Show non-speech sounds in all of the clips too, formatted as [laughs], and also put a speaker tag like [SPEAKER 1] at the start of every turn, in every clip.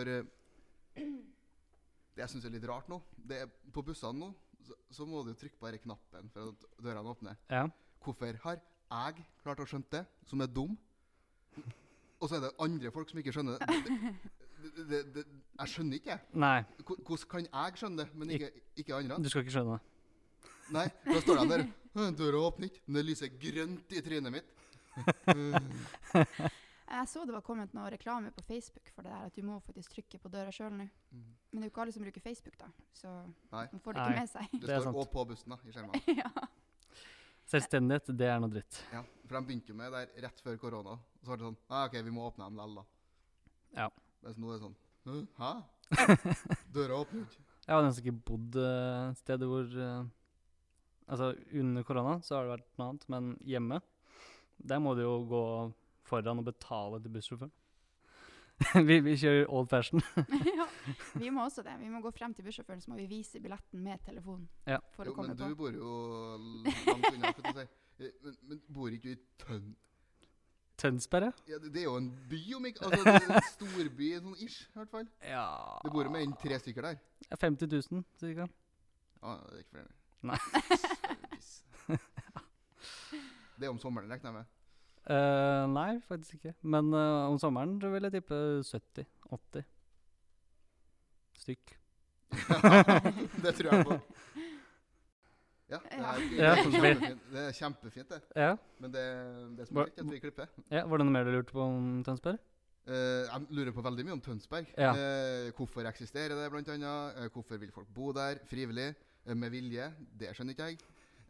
[SPEAKER 1] eh, Det jeg syns er litt rart nå, det er på bussene nå, så, så må du trykke på denne knappen for at dørene åpner.
[SPEAKER 2] Ja.
[SPEAKER 1] Hvorfor har jeg klart å skjønne det, som er dum? Og så er det andre folk som ikke skjønner det. det, det, det, det jeg skjønner ikke, jeg.
[SPEAKER 2] Nei,
[SPEAKER 1] Hvor- Hvordan kan jeg skjønne det, men ikke, ikke andre?
[SPEAKER 2] du skal ikke skjønne det.
[SPEAKER 1] Nei, da står jeg der. «Øh, Døra åpner ikke, men det lyser grønt i trynet mitt.
[SPEAKER 2] [laughs]
[SPEAKER 3] Jeg så det var kommet noe reklame på Facebook for det der at du må faktisk trykke på døra sjøl nå.
[SPEAKER 1] Mm.
[SPEAKER 3] Men det er jo ikke alle som bruker Facebook, da. Så
[SPEAKER 1] Nei.
[SPEAKER 3] man får det ikke
[SPEAKER 2] Nei.
[SPEAKER 3] med seg.
[SPEAKER 1] Det,
[SPEAKER 2] Det er
[SPEAKER 1] står
[SPEAKER 2] sant.
[SPEAKER 1] òg på bussen, da, i skjermen.
[SPEAKER 3] [laughs] ja.
[SPEAKER 2] Selvstendighet, det er noe dritt.
[SPEAKER 1] Ja, for de begynte jo med det der rett før korona. Og så var det sånn Nei, OK, vi må åpne dem likevel, da.
[SPEAKER 2] Ja.
[SPEAKER 1] Mens nå er det sånn «Hæ?
[SPEAKER 2] [laughs]
[SPEAKER 1] Hæ? Døra åpner ikke.
[SPEAKER 2] Jeg har nesten ikke bodd uh, steder hvor eh, Altså, under korona så har det vært noe annet, men hjemme Der må du jo gå foran og betale til bussjåføren. [laughs] vi, vi kjører old fashion.
[SPEAKER 3] ja. Vi må også det. Vi må gå frem til bussjåføren, så må vi vise billetten med telefonen.
[SPEAKER 2] Ja.
[SPEAKER 3] For å
[SPEAKER 1] Jo, men
[SPEAKER 3] komme
[SPEAKER 1] du
[SPEAKER 3] på.
[SPEAKER 1] bor jo langt unna. skulle jeg til å Si. Eh, Men, men bor ikke du i Tønn...
[SPEAKER 2] Tønsberg,
[SPEAKER 1] Ja, det, det er jo en by, om ikke Altså, det er en storby, sånn ish, i hvert fall.
[SPEAKER 2] ja.
[SPEAKER 1] Det bor jo med en tre stykker der.
[SPEAKER 2] Ja, 50 000, cirka.
[SPEAKER 1] Ja, det er ikke flere.
[SPEAKER 2] Nei.
[SPEAKER 1] Piss. Det er om sommeren, regner jeg med. [laughs]
[SPEAKER 2] Eh, nei, faktisk ikke. Men eh, om sommeren så vil jeg tippe 70-80 stykk.
[SPEAKER 1] det tror jeg på. Ja, det
[SPEAKER 3] Ja.
[SPEAKER 1] er, det
[SPEAKER 2] Ja,
[SPEAKER 1] er
[SPEAKER 2] sånn blir-
[SPEAKER 1] kjempefint, det, er kjempefint, det.
[SPEAKER 2] Ja.
[SPEAKER 1] Men det, det som
[SPEAKER 2] Hva-
[SPEAKER 1] er viktig, er at vi klipper.
[SPEAKER 2] ja. Var det noe mer du lurte på om Tønsberg?
[SPEAKER 1] Eh, jeg lurer på veldig mye om Tønsberg.
[SPEAKER 2] Ja.
[SPEAKER 1] Eh, hvorfor eksisterer det, blant annet? Eh, hvorfor vil folk bo der frivillig, eh, med vilje? Det skjønner ikke jeg.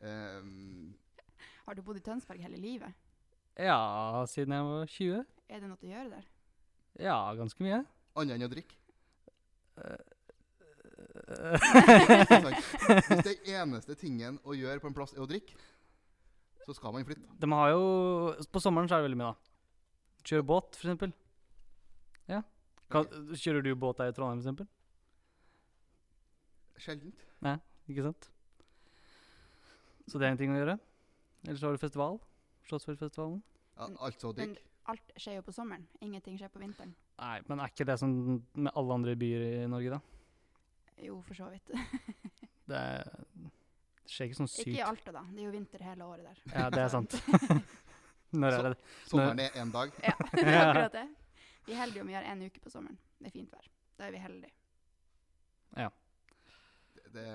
[SPEAKER 1] Eh,
[SPEAKER 3] Har du bodd i Tønsberg hele livet?
[SPEAKER 2] Ja, siden jeg var 20.
[SPEAKER 3] Er det noe å
[SPEAKER 1] [laughs]
[SPEAKER 3] gjøre der?
[SPEAKER 2] Ja, ganske mye.
[SPEAKER 1] Annet enn å drikke.
[SPEAKER 2] Eh,
[SPEAKER 1] Sant? Hvis det
[SPEAKER 2] [laughs]
[SPEAKER 1] eneste tingen å gjøre på en plass er å drikke, så skal man flytte.
[SPEAKER 2] De har jo På sommeren så er det veldig mye, da. Kjøre båt, for eksempel. Ja. Kan, kjører du båt der i Trondheim, for eksempel?
[SPEAKER 1] Sjeldent.
[SPEAKER 2] Ikke sant? Så det er en ting å gjøre. Eller så har du festival. Slottsfjordfestivalen.
[SPEAKER 1] Ja, altså å
[SPEAKER 3] Men
[SPEAKER 1] drikke.
[SPEAKER 3] [laughs] alt skjer jo på sommeren. Ingenting skjer på vinteren.
[SPEAKER 2] Nei, men er ikke det sånn med alle andre byer i Norge, da?
[SPEAKER 3] Jo, for så vidt.
[SPEAKER 2] Det, er, det skjer ikke sånn
[SPEAKER 3] Ikke i
[SPEAKER 2] sykt.
[SPEAKER 3] Alta, da. Det er jo vinter hele året der.
[SPEAKER 2] Ja, det er sant. [laughs] Når er det det?
[SPEAKER 1] Sommeren er én dag.
[SPEAKER 3] [laughs] Ja, det er
[SPEAKER 2] [laughs]
[SPEAKER 3] akkurat det. Vi er heldige om vi har én uke på sommeren. Det er fint vær. Da er vi heldige.
[SPEAKER 1] Det,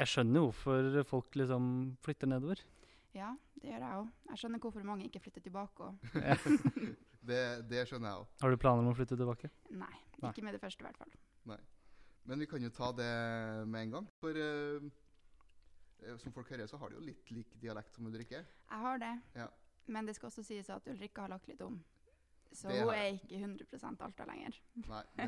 [SPEAKER 2] Jeg skjønner jo hvorfor folk liksom flytter nedover.
[SPEAKER 3] Ja, det gjør jeg òg. Jeg skjønner hvorfor mange ikke flytter tilbake. Og
[SPEAKER 1] det, det skjønner jeg òg.
[SPEAKER 2] Har du planer om å flytte tilbake?
[SPEAKER 3] nei,
[SPEAKER 2] Nei.
[SPEAKER 3] ikke med det første, i hvert fall.
[SPEAKER 1] Men vi kan jo ta det med en gang. For eh, eh, som folk hører, så har de jo litt lik dialekt som Ulrikke.
[SPEAKER 3] Jeg har det.
[SPEAKER 1] Ja.
[SPEAKER 3] Men det skal også sies at Ulrikke har lagt litt om. Så
[SPEAKER 1] Det
[SPEAKER 3] hun
[SPEAKER 1] har
[SPEAKER 3] er ikke 100 Alta lenger.
[SPEAKER 1] Nei, det,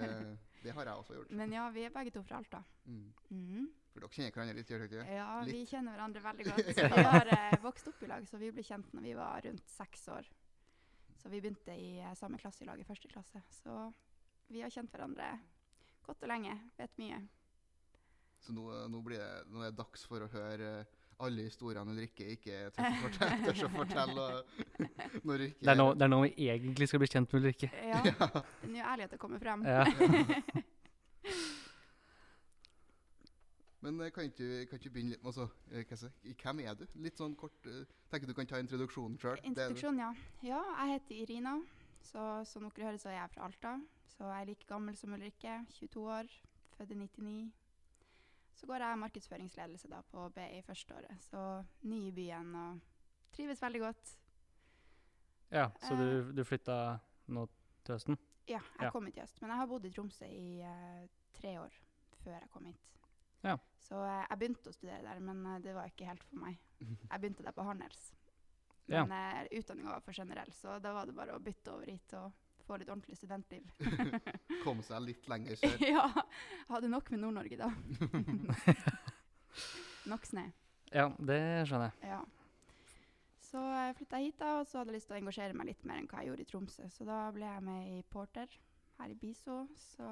[SPEAKER 1] det har jeg også gjort.
[SPEAKER 3] Men ja, vi er begge to fra Alta.
[SPEAKER 1] Mm.
[SPEAKER 3] Mhm.
[SPEAKER 1] For dere kjenner hverandre litt, gjør dere ikke det?
[SPEAKER 3] Ja, vi
[SPEAKER 1] Litt.
[SPEAKER 3] kjenner hverandre
[SPEAKER 1] [laughs]
[SPEAKER 3] veldig godt. Så vi har eh, vokst opp i lag, så vi ble kjent når vi var rundt seks år. Så vi begynte i eh, samme klasse i lag i første klasse. Så vi har kjent hverandre godt og lenge. Vet mye.
[SPEAKER 1] [laughs] Så nå, eh, nå, blir det, nå er det dags for å høre eh, alle historiene Ulrikke ikke tør å fortelle. Tør å fortelle og, [laughs] når Ulrikke
[SPEAKER 2] Det er, nå, det er nå vi egentlig skal bli kjent med Ulrikke.
[SPEAKER 3] Ja,
[SPEAKER 1] Ja.
[SPEAKER 3] det er nå ærligheten kommer frem.
[SPEAKER 2] [laughs] Ja.
[SPEAKER 1] Men eh, kan ikke du kan ikke du begynne litt med altså, eh, hva skal jeg si, Hvem er du? Litt sånn kort. eh, Tenker du kan ta introduksjonen sjøl.
[SPEAKER 3] Introduksjon, ja. Ja, jeg heter Irina. Så som dere hører, så er jeg fra Alta. Så jeg er like gammel som Ulrikke, 22 år, født i 99. Så går jeg markedsføringsledelse da på BI førsteåret, så ny i byen og trives veldig godt.
[SPEAKER 2] Ja, Så du, du flytta nå til høsten?
[SPEAKER 3] Ja, jeg
[SPEAKER 2] Ja.
[SPEAKER 3] kom hit i høst, men jeg har bodd i Tromsø i eh, tre år før jeg kom hit.
[SPEAKER 2] Ja.
[SPEAKER 3] Så eh, jeg begynte å studere der, men eh, det var ikke helt for meg. Jeg begynte der på Handels.
[SPEAKER 2] Ja.
[SPEAKER 3] Men ja. utdanninga var for generell, så da var det bare å bytte over hit og få litt ordentlig studentliv.
[SPEAKER 1] [laughs] Kom seg litt lenger
[SPEAKER 3] [laughs]
[SPEAKER 1] sør.
[SPEAKER 3] ja, jeg hadde nok med Nord-Norge da. nok snø.
[SPEAKER 2] Ja, det skjønner jeg.
[SPEAKER 3] Ja. Så jeg flytta hit, da, og så hadde jeg lyst til å engasjere meg litt mer enn hva jeg gjorde i Tromsø. Så da ble jeg med i Porter her i Biso, så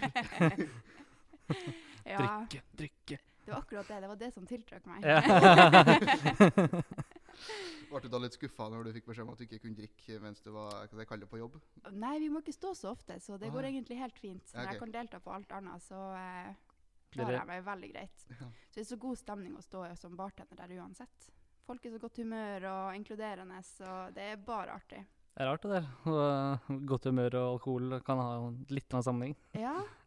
[SPEAKER 3] [laughs] Ja,
[SPEAKER 2] Drikke, drikke.
[SPEAKER 3] [laughs] det var akkurat det. Det var det som tiltrakk meg.
[SPEAKER 2] Ja.
[SPEAKER 1] Ble du da litt skuffa når du fikk beskjed om at du ikke kunne drikke mens du var hva skal jeg kalle det, på jobb?
[SPEAKER 3] Nei, vi må ikke stå så ofte, så det
[SPEAKER 1] Ah,
[SPEAKER 3] går
[SPEAKER 1] ja.
[SPEAKER 3] egentlig helt fint.
[SPEAKER 1] Ja,
[SPEAKER 3] Når
[SPEAKER 1] ok.
[SPEAKER 3] jeg kan delta på alt annet, så eh, klarer
[SPEAKER 2] Dere,
[SPEAKER 3] jeg meg veldig greit.
[SPEAKER 1] Ja.
[SPEAKER 3] Så det er så god stemning å stå som bartender der uansett. Folk er så godt humør og inkluderende, så det er bare artig.
[SPEAKER 2] det er rart, det der. Og eh, godt humør og alkohol kan ha en litt av en sammenheng.
[SPEAKER 3] Ja,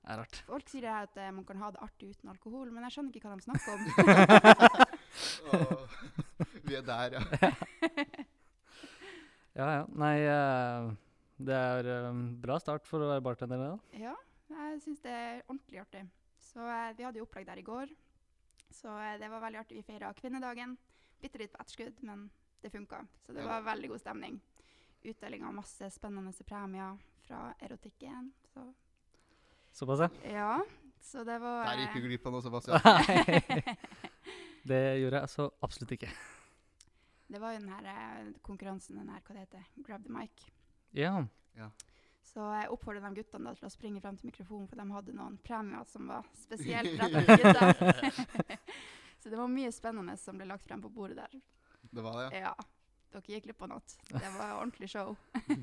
[SPEAKER 2] Det er rart.
[SPEAKER 3] folk sier det her at eh, man kan ha det artig uten alkohol, men jeg skjønner ikke hva de snakker om.
[SPEAKER 1] [laughs]
[SPEAKER 3] [laughs]
[SPEAKER 1] Åh, vi er der, ja.
[SPEAKER 2] Ja, ja. Nei, eh, det er eh, bra start for å være bartender, det. da.
[SPEAKER 3] Ja, jeg syns det er ordentlig artig. Så eh, vi hadde jo opplegg der i går, så eh, det var veldig artig. Vi feira kvinnedagen. Bitte litt på etterskudd, men det funka. Så det
[SPEAKER 1] Ja.
[SPEAKER 3] var veldig god stemning. Utdeling av masse spennende premier fra erotikken. Så
[SPEAKER 2] Såpass, ja.
[SPEAKER 3] ja, så det var
[SPEAKER 1] Der gikk
[SPEAKER 3] eh,
[SPEAKER 1] du glipp av noe, Sebastian.
[SPEAKER 2] Nei. [laughs] Det gjorde jeg så absolutt ikke.
[SPEAKER 3] Det var jo den her eh, konkurransen, den her, hva det heter, grab the mic.
[SPEAKER 2] Ja.
[SPEAKER 3] Så eh, jeg oppfordret de guttene da til å springe frem til mikrofonen, for de hadde noen premier som var spesielt rettet
[SPEAKER 1] [laughs]
[SPEAKER 3] til gutter. [laughs] så det var mye spennende som ble lagt frem på bordet der.
[SPEAKER 1] Det var
[SPEAKER 3] [laughs]
[SPEAKER 1] det,
[SPEAKER 3] Ja. Dere gikk glipp av noe. Det var ordentlig show.
[SPEAKER 1] ja.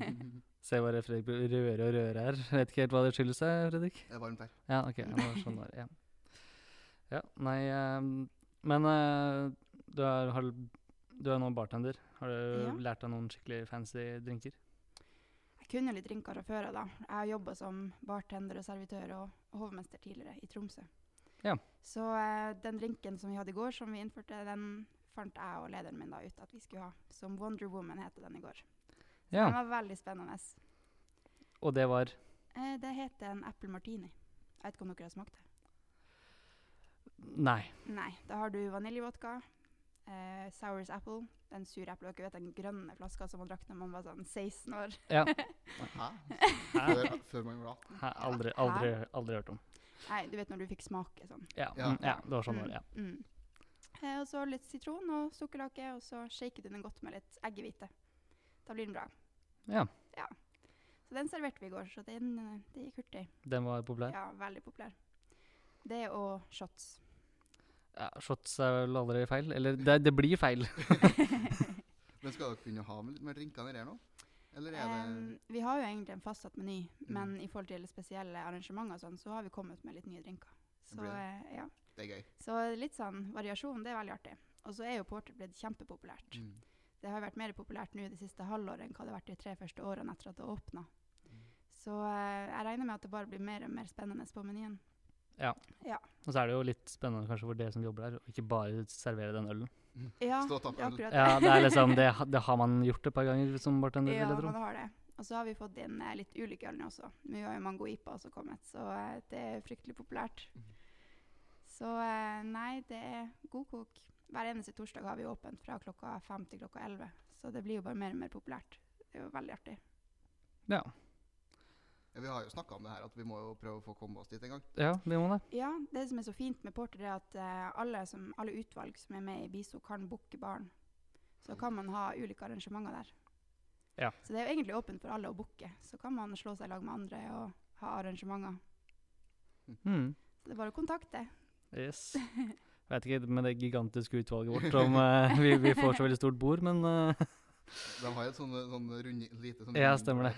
[SPEAKER 2] Se bare Fredrik blir rødere og rødere her. Jeg vet ikke helt hva det skyldes, eh, Fredrik.
[SPEAKER 1] Det er varmt her.
[SPEAKER 2] Ja, ok. Jeg må skjønne det. Ja. ja, nei eh, Men eh, du er, har, du er nå bartender. Har du
[SPEAKER 3] Ja.
[SPEAKER 2] lært deg noen skikkelig fancy drinker?
[SPEAKER 3] Jeg kunne jo litt drinker fra før av, da. Jeg har jobba som bartender og servitør og hovmester tidligere i Tromsø.
[SPEAKER 2] Ja.
[SPEAKER 3] Så eh, den drinken som vi hadde i går, som vi innførte, den fant jeg og lederen min da ut at vi skulle ha. Som Wonder Woman heter den i går. Så
[SPEAKER 2] Ja.
[SPEAKER 3] Den var veldig spennende.
[SPEAKER 2] Og det var
[SPEAKER 3] Eh, det heter en apple martini. Jeg vet ikke om dere har smakt det?
[SPEAKER 2] Nei.
[SPEAKER 3] [laughs] Nei. Da har du vaniljevodka, eh, Sours Apple, den sure apple, dere vet den grønne flaska som man drakk når man var sånn 16 år.
[SPEAKER 2] Ja.
[SPEAKER 1] Hæ?
[SPEAKER 2] Hæ?
[SPEAKER 1] Før, før man
[SPEAKER 3] [laughs]
[SPEAKER 1] var
[SPEAKER 2] Hæ? Aldri, aldri, aldri hørt om.
[SPEAKER 3] Nei, du vet når du fikk smake sånn.
[SPEAKER 2] Ja,
[SPEAKER 1] Ja.
[SPEAKER 2] mm, ja det var sånn det var. Ja.
[SPEAKER 3] Mm. Eh, og så litt sitron og sukkerlake, og så shaker du den godt med litt eggehvite. Da blir den bra.
[SPEAKER 2] Ja.
[SPEAKER 3] Så den serverte vi i går, så den, eh, det gikk hurtig.
[SPEAKER 2] Den var populær.
[SPEAKER 3] Ja, veldig populær. Det og shots.
[SPEAKER 2] Ja, shots er vel aldri feil? Eller det, det blir feil.
[SPEAKER 1] Men skal dere begynne å ha med litt mer drinker nedi her nå? Eller er det
[SPEAKER 3] Em, vi har jo egentlig en fastsatt meny,
[SPEAKER 1] Mm.
[SPEAKER 3] men i forhold til spesielle arrangementer og sånn, så har vi kommet med litt nye drinker. Så,
[SPEAKER 1] blir
[SPEAKER 3] eh, ja.
[SPEAKER 1] Det er gøy.
[SPEAKER 3] så litt sånn variasjon, det er veldig artig. Og så er jo porter blitt kjempepopulært.
[SPEAKER 1] Mm.
[SPEAKER 3] Det har jo vært mer populært nå det siste halvåret enn hva det har vært de tre første årene etter at det åpna. Så eh, jeg regner med at det bare blir mer og mer spennende på menyen.
[SPEAKER 2] Og så er det jo litt spennende kanskje for dere som jobber der, å ikke bare servere den ølen.
[SPEAKER 3] Ja,
[SPEAKER 1] Stå og ta på
[SPEAKER 3] det er
[SPEAKER 1] øl.
[SPEAKER 3] akkurat det.
[SPEAKER 2] Ja, det er liksom det, ha- det har man gjort et par ganger som bartender,
[SPEAKER 3] [laughs] Ja,
[SPEAKER 2] vil jeg tro.
[SPEAKER 3] man har det. Og så har vi fått inn eh, litt ulike øl nå også. Nå har jo mango ipa også kommet, så eh, det er fryktelig populært. Så eh, nei, det er god kok. Hver eneste torsdag har vi åpent fra klokka fem til klokka elleve. Så det blir jo bare mer og mer populært. Det er jo veldig artig.
[SPEAKER 2] Ja.
[SPEAKER 1] Ja, vi har jo snakka om det her, at vi må jo prøve å få komme oss dit en gang.
[SPEAKER 2] ja, vi må det.
[SPEAKER 3] Ja, det som er så fint med Porter, er at eh, alle, som, alle utvalg som er med i BISO, kan booke baren. Så kan man ha ulike arrangementer der.
[SPEAKER 2] Ja.
[SPEAKER 3] Så det er jo egentlig åpent for alle å booke. Så kan man slå seg i lag med andre og ha arrangementer.
[SPEAKER 2] Mm.
[SPEAKER 3] Så det er bare å kontakte.
[SPEAKER 2] Yes. Vet ikke med det gigantiske utvalget vårt om eh, vi, vi får så veldig stort bord, men eh,
[SPEAKER 1] De har jo et sånn, sånn runde, lite sånn
[SPEAKER 2] ja,
[SPEAKER 1] runde-
[SPEAKER 2] stemmer det.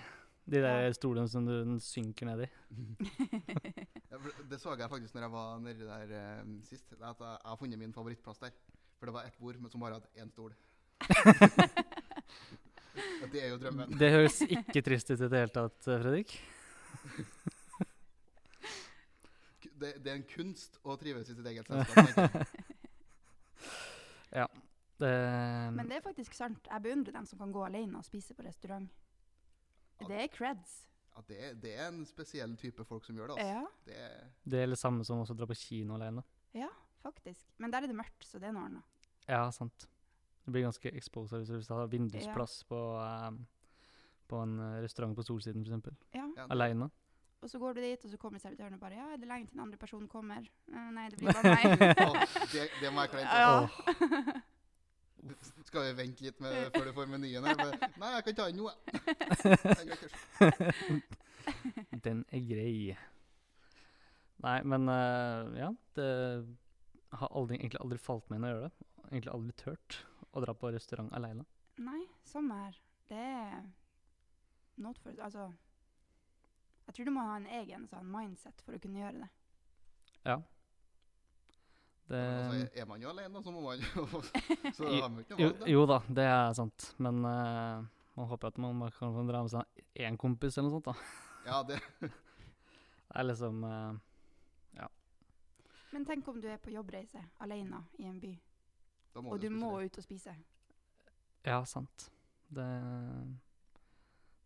[SPEAKER 2] De der stolene som du den synker ned i.
[SPEAKER 1] Ja, for det så jeg faktisk når jeg var nedi der eh, sist. At jeg, jeg har funnet min favorittplass der. For det var ett bord men som bare hadde én stol.
[SPEAKER 3] [laughs]
[SPEAKER 1] Ja, det er jo drømmen.
[SPEAKER 2] Det høres ikke trist ut i det hele tatt, eh, Fredrik.
[SPEAKER 1] K- Det, det er en kunst å trives i sitt
[SPEAKER 2] [laughs]
[SPEAKER 1] eget selskap. tenker jeg.
[SPEAKER 2] Det, Mm.
[SPEAKER 3] Men det er faktisk sant. Jeg beundrer dem som kan gå alene og spise på restaurant. Det er creds.
[SPEAKER 1] Ja, det, er- det er en spesiell type folk som gjør det. Altså.
[SPEAKER 3] Ja,
[SPEAKER 1] Det er-
[SPEAKER 2] det er det samme som også å dra på kino alene.
[SPEAKER 3] faktisk. Men der er det mørkt, så det er noe annet.
[SPEAKER 2] Ja, sant. Det blir ganske exposed hvis du har vindusplass på, eh, på en eh, restaurant på Solsiden, f.eks.
[SPEAKER 3] Ja.
[SPEAKER 1] ja, [laughs] det-
[SPEAKER 2] Aleine.
[SPEAKER 3] Og så går du dit, og så kommer servitøren og bare Ja, er det lenge til den andre personen kommer? Eh, Nei, det blir bare meg.
[SPEAKER 1] Å, det, det må jeg klare.
[SPEAKER 3] Ja.
[SPEAKER 1] Altså. Skal vi vente litt med, før du får menyen her? Bare, Nei, jeg kan ta inn noe. jeg.
[SPEAKER 3] [laughs]
[SPEAKER 1] Jeg kan ikke-
[SPEAKER 2] Den er grei. Nei, men eh, ja. Det har aldri, egentlig aldri falt meg inn å gjøre det. Egentlig aldri turt å dra på restaurant aleine.
[SPEAKER 3] [laughs] Nei, samme her. Det er not for Altså Jeg tror du må ha en egen sånn mindset for å kunne gjøre det.
[SPEAKER 2] Det,
[SPEAKER 1] Men altså, er man jo alene, så må man jo [laughs] Så
[SPEAKER 2] Jo-
[SPEAKER 1] har man jo ikke noe
[SPEAKER 2] jo,
[SPEAKER 1] valg, da.
[SPEAKER 2] jo da, det er sant. Men eh, man håper at man bare kan få dra med seg én kompis eller noe sånt. da.
[SPEAKER 1] Ja, det
[SPEAKER 2] Det er liksom eh,
[SPEAKER 3] Men tenk om du er på jobbreise alene i en by,
[SPEAKER 1] da må
[SPEAKER 3] og du
[SPEAKER 1] spise
[SPEAKER 3] må
[SPEAKER 1] det.
[SPEAKER 3] ut og spise.
[SPEAKER 2] Ja, sant. Det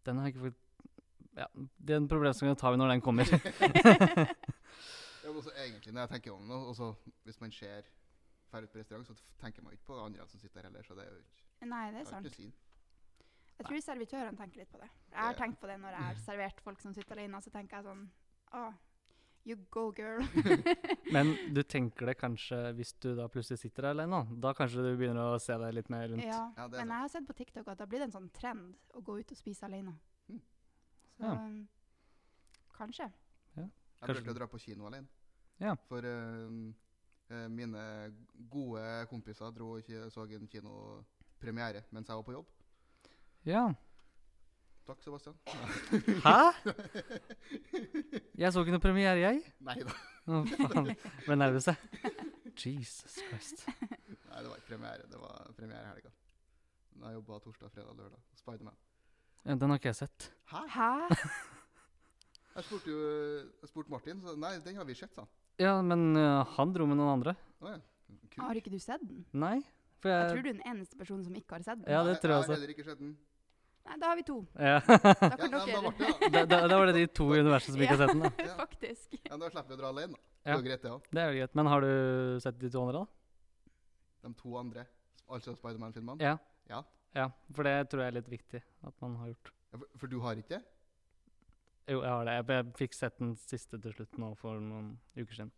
[SPEAKER 2] Den har jeg ikke fått ja, Den problemstillingen tar vi når den
[SPEAKER 1] [laughs]
[SPEAKER 2] kommer.
[SPEAKER 1] Ja, men også egentlig, når jeg tenker om det, og så hvis man ser drar ut på restaurant, så f- tenker man jo ikke på andre som sitter der heller, så det er jo ikke,
[SPEAKER 3] Nei,
[SPEAKER 1] det
[SPEAKER 3] det er
[SPEAKER 1] er jo
[SPEAKER 3] sant.
[SPEAKER 1] ikke synd.
[SPEAKER 3] Jeg tror servitørene tenker litt på det. Jeg har
[SPEAKER 1] Ja.
[SPEAKER 3] tenkt på det når jeg har servert folk som sitter alene, så tenker jeg sånn ah, you go, girl.
[SPEAKER 2] Men du tenker det kanskje hvis du da plutselig sitter der alene. Da Da kanskje du begynner å se deg litt mer rundt.
[SPEAKER 3] [laughs] Ja.
[SPEAKER 1] Ja, det er
[SPEAKER 3] Men
[SPEAKER 1] sant.
[SPEAKER 3] jeg har sett på TikTok at da blir det en sånn trend å gå ut og spise alene.
[SPEAKER 1] Mm.
[SPEAKER 3] Så
[SPEAKER 2] Ja.
[SPEAKER 3] um, kanskje.
[SPEAKER 1] Jeg
[SPEAKER 2] Kanskje-
[SPEAKER 1] prøvde å dra på kino alene.
[SPEAKER 2] Ja.
[SPEAKER 1] For øhm, øh, mine gode kompiser dro og ki- så en kinopremiere mens jeg var på jobb.
[SPEAKER 2] Ja.
[SPEAKER 1] Takk, [laughs] Sebastian.
[SPEAKER 2] Hæ? Jeg så ikke noe premiere, jeg.
[SPEAKER 1] Nei da.
[SPEAKER 2] Å, faen. Ble nervøs, jeg. Jesus Christ.
[SPEAKER 1] Nei, det var ikke premiere. Det var premiere i helga. Men Jeg jobba torsdag, fredag, lørdag. Spiderman.
[SPEAKER 2] Ja, Den har ikke jeg sett.
[SPEAKER 1] Hæ?
[SPEAKER 3] Hæ?
[SPEAKER 1] Jeg spurte jo jeg spurte Martin, så nei, den har vi sett, sa han.
[SPEAKER 2] Ja, men øh, han dro med noen andre.
[SPEAKER 1] Å ja. Kult.
[SPEAKER 3] Har ikke du sett den?
[SPEAKER 2] Nei. For
[SPEAKER 3] Jeg
[SPEAKER 2] jeg,
[SPEAKER 3] tror du er den eneste personen som ikke har sett den.
[SPEAKER 2] Eh, Ja, det
[SPEAKER 1] Nei,
[SPEAKER 2] tror jeg
[SPEAKER 1] Jeg
[SPEAKER 2] også.
[SPEAKER 1] har heller ikke sett den.
[SPEAKER 3] Nei, da har vi to.
[SPEAKER 2] ja. [laughs]
[SPEAKER 3] Da
[SPEAKER 1] Ja,
[SPEAKER 3] kan
[SPEAKER 1] nei, men da ble
[SPEAKER 3] dere
[SPEAKER 1] det, da.
[SPEAKER 2] da, da, da var det de to i universet som ikke har sett den. da.
[SPEAKER 1] [laughs] Ja.
[SPEAKER 3] [laughs] Faktisk.
[SPEAKER 1] Ja, men da slipper vi å dra alene, da. Det
[SPEAKER 2] Ja.
[SPEAKER 1] er jo greit, det òg.
[SPEAKER 2] Det er jo greit. Men har du sett de to andre, da?
[SPEAKER 1] De to andre, altså Spiderman-filmene.
[SPEAKER 2] Ja.
[SPEAKER 1] Ja.
[SPEAKER 2] Ja, For det tror jeg er litt viktig at man har gjort.
[SPEAKER 1] Ja, for- For du har ikke det?
[SPEAKER 2] Jo, jeg har det. Jeg, jeg fikk sett den siste til slutt nå for noen uker siden.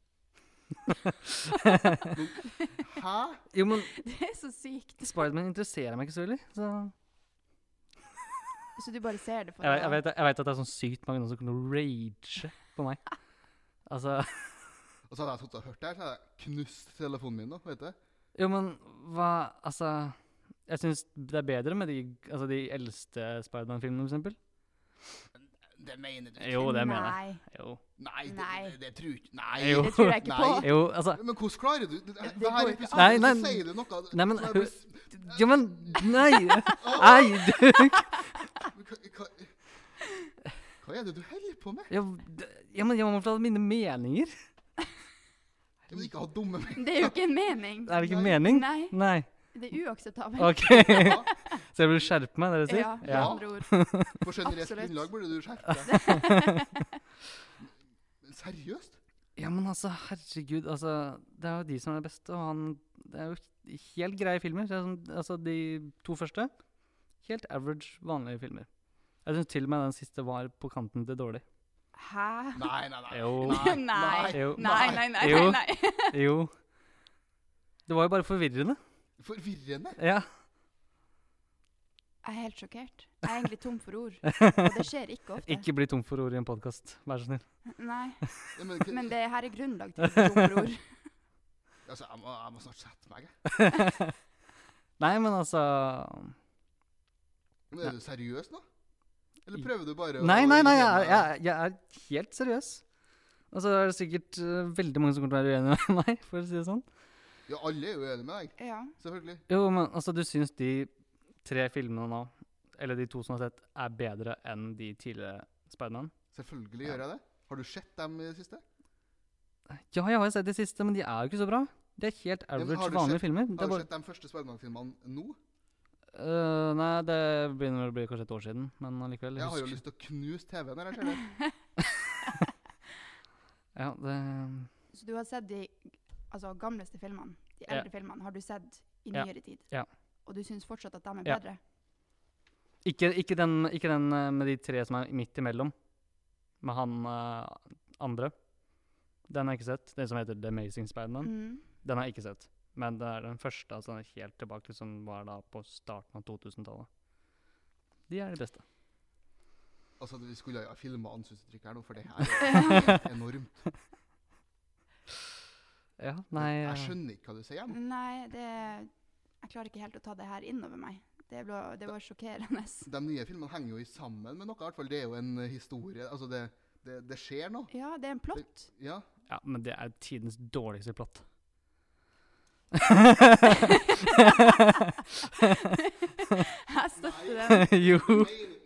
[SPEAKER 1] Hæ?
[SPEAKER 2] Jo, men
[SPEAKER 3] Det er så sykt.
[SPEAKER 2] Spiderman interesserer meg ikke så veldig. Så jeg,
[SPEAKER 3] Så du bare ser det for
[SPEAKER 2] ve- jeg, vet, jeg vet at det er sånn sykt mange noen som kan rage på meg.
[SPEAKER 1] [laughs]
[SPEAKER 2] Altså
[SPEAKER 1] Og så hadde jeg sittet og hørt det her, så hadde jeg knust telefonen min nå, vet du.
[SPEAKER 2] Jo, men hva Altså Jeg syns det er bedre med de, altså, de eldste Spiderman-filmene, for eksempel.
[SPEAKER 1] Det mener du
[SPEAKER 2] Jo, det mener jeg.
[SPEAKER 3] Nei,
[SPEAKER 2] Jo.
[SPEAKER 1] Nei, det,
[SPEAKER 3] Nei.
[SPEAKER 1] det, det tror ikke Nei.
[SPEAKER 2] Jo.
[SPEAKER 3] det tror jeg ikke
[SPEAKER 1] Nei.
[SPEAKER 3] på.
[SPEAKER 2] jo, altså
[SPEAKER 1] Men hvordan klarer du det?
[SPEAKER 3] det
[SPEAKER 1] Det her
[SPEAKER 3] går ikke
[SPEAKER 1] episoden,
[SPEAKER 2] an. Nei,
[SPEAKER 1] så
[SPEAKER 2] nei.
[SPEAKER 1] sier du noe
[SPEAKER 2] Nei, men
[SPEAKER 1] som jeg
[SPEAKER 2] hun-
[SPEAKER 1] bes-
[SPEAKER 2] Jo, men Nei! Nei, du
[SPEAKER 1] hva- hva, hva er det du holder på med?
[SPEAKER 2] jo, d- Ja, men jeg må få mine meninger.
[SPEAKER 1] Du må ikke ha dumme
[SPEAKER 3] [laughs] Det er jo ikke en mening.
[SPEAKER 2] Er det ikke
[SPEAKER 1] Nei.
[SPEAKER 2] mening?
[SPEAKER 3] Nei,
[SPEAKER 2] Nei.
[SPEAKER 3] det er uakseptabelt.
[SPEAKER 2] OK. [laughs]
[SPEAKER 1] Ja,
[SPEAKER 2] Så jeg burde skjerpe meg, er det du sier?
[SPEAKER 3] Ja, med
[SPEAKER 1] Ja.
[SPEAKER 3] andre ord.
[SPEAKER 1] På generelt
[SPEAKER 3] Absolutt.
[SPEAKER 1] grunnlag burde du skjerpe deg. Men Seriøst?
[SPEAKER 2] Ja, men altså, herregud, altså, det er jo de som er det beste, og han, det er jo helt greie filmer. Det er sånn, altså, de to første, helt average, vanlige filmer. Jeg synes til og med den siste var på kanten til dårlig.
[SPEAKER 3] Hæ?
[SPEAKER 1] Nei, nei, nei.
[SPEAKER 2] Ah, Jo.
[SPEAKER 1] Nei,
[SPEAKER 3] Nei.
[SPEAKER 2] Jo,
[SPEAKER 3] Nei, nei, nei. nei,
[SPEAKER 2] Jo.
[SPEAKER 3] nei.
[SPEAKER 2] jo. Det var jo bare forvirrende.
[SPEAKER 1] Forvirrende.
[SPEAKER 2] Ja,
[SPEAKER 3] Jeg er helt sjokkert. Jeg er egentlig tom for
[SPEAKER 2] [laughs]
[SPEAKER 3] ord. Og det skjer ikke ofte.
[SPEAKER 2] ikke bli tom for ord i en podcast, vær så snill.
[SPEAKER 3] Nei,
[SPEAKER 1] Ja, men, k-
[SPEAKER 3] men det her er grunnlag til å bli
[SPEAKER 2] [laughs]
[SPEAKER 3] tom for ord.
[SPEAKER 1] altså, jeg, må, jeg må snart sette meg. jeg.
[SPEAKER 2] Nei, men altså,
[SPEAKER 1] Men er du seriøs nå? Eller prøver du bare
[SPEAKER 2] nei, nei, nei, jeg,
[SPEAKER 1] irritere meg?
[SPEAKER 2] er- jeg, er- jeg er helt seriøs. Og så er det sikkert eh, veldig mange som kommer til å være uenige med meg, for å si det sånn.
[SPEAKER 1] Ja, alle er jo enige med deg,
[SPEAKER 3] Ja.
[SPEAKER 1] selvfølgelig.
[SPEAKER 2] Jo, men altså, du syns de tre filmene nå, eller de to som har sett, er bedre enn de tidligere Spiderman?
[SPEAKER 1] Selvfølgelig
[SPEAKER 2] Ja.
[SPEAKER 1] gjør jeg det. Har du sett dem i det siste?
[SPEAKER 2] Ja, jeg har jo sett de siste, men de er jo ikke så bra. De er helt
[SPEAKER 1] men
[SPEAKER 2] average,
[SPEAKER 1] har du
[SPEAKER 2] vanlige
[SPEAKER 1] sett-
[SPEAKER 2] filmer. Det
[SPEAKER 1] Har du
[SPEAKER 2] er bare,
[SPEAKER 1] sett de første Spiderman-filmene nå?
[SPEAKER 2] Øh, nei, det begynner vel å bli kanskje et år siden, men allikevel.
[SPEAKER 1] Jeg har jo
[SPEAKER 2] husker-
[SPEAKER 1] lyst til å knuse TV-en når jeg ser
[SPEAKER 2] [laughs]
[SPEAKER 1] det.
[SPEAKER 2] Ja, det,
[SPEAKER 3] Så du har sett de altså, gamleste filmene, de
[SPEAKER 2] Ja.
[SPEAKER 3] eldre filmene, har du sett i
[SPEAKER 2] Ja.
[SPEAKER 3] nyere tid?
[SPEAKER 2] Ja.
[SPEAKER 3] Og du syns fortsatt at de er
[SPEAKER 2] Ja.
[SPEAKER 3] bedre?
[SPEAKER 2] ikke, ikke, den, ikke den eh, med de tre som er midt imellom, med han eh, andre. Den har jeg ikke sett. Den som heter The Amazing Spiderman.
[SPEAKER 3] Mm.
[SPEAKER 2] Den har jeg ikke sett. Men det er den første altså, den er helt tilbake, som var da på starten av 2000-tallet. De er de beste.
[SPEAKER 1] Altså, Vi skulle jo ha filma ansiktsuttrykket her nå, for det
[SPEAKER 2] [laughs]
[SPEAKER 1] her er enormt.
[SPEAKER 2] Ja, nei
[SPEAKER 1] jeg
[SPEAKER 2] eh,
[SPEAKER 1] skjønner ikke hva du sier. nå.
[SPEAKER 3] Nei, det Jeg klarer ikke helt å ta det her innover meg. Det, ble, det var sjokkerende.
[SPEAKER 1] De nye filmene henger jo i sammen med noe. i hvert fall. Det er jo en eh, historie. Altså, det, det, det skjer noe.
[SPEAKER 3] Ja, det er en plott.
[SPEAKER 2] [laughs]
[SPEAKER 1] Ja.
[SPEAKER 2] Ja, men det er tidens dårligste plott.
[SPEAKER 3] Jeg støtter den.
[SPEAKER 2] [laughs] jo,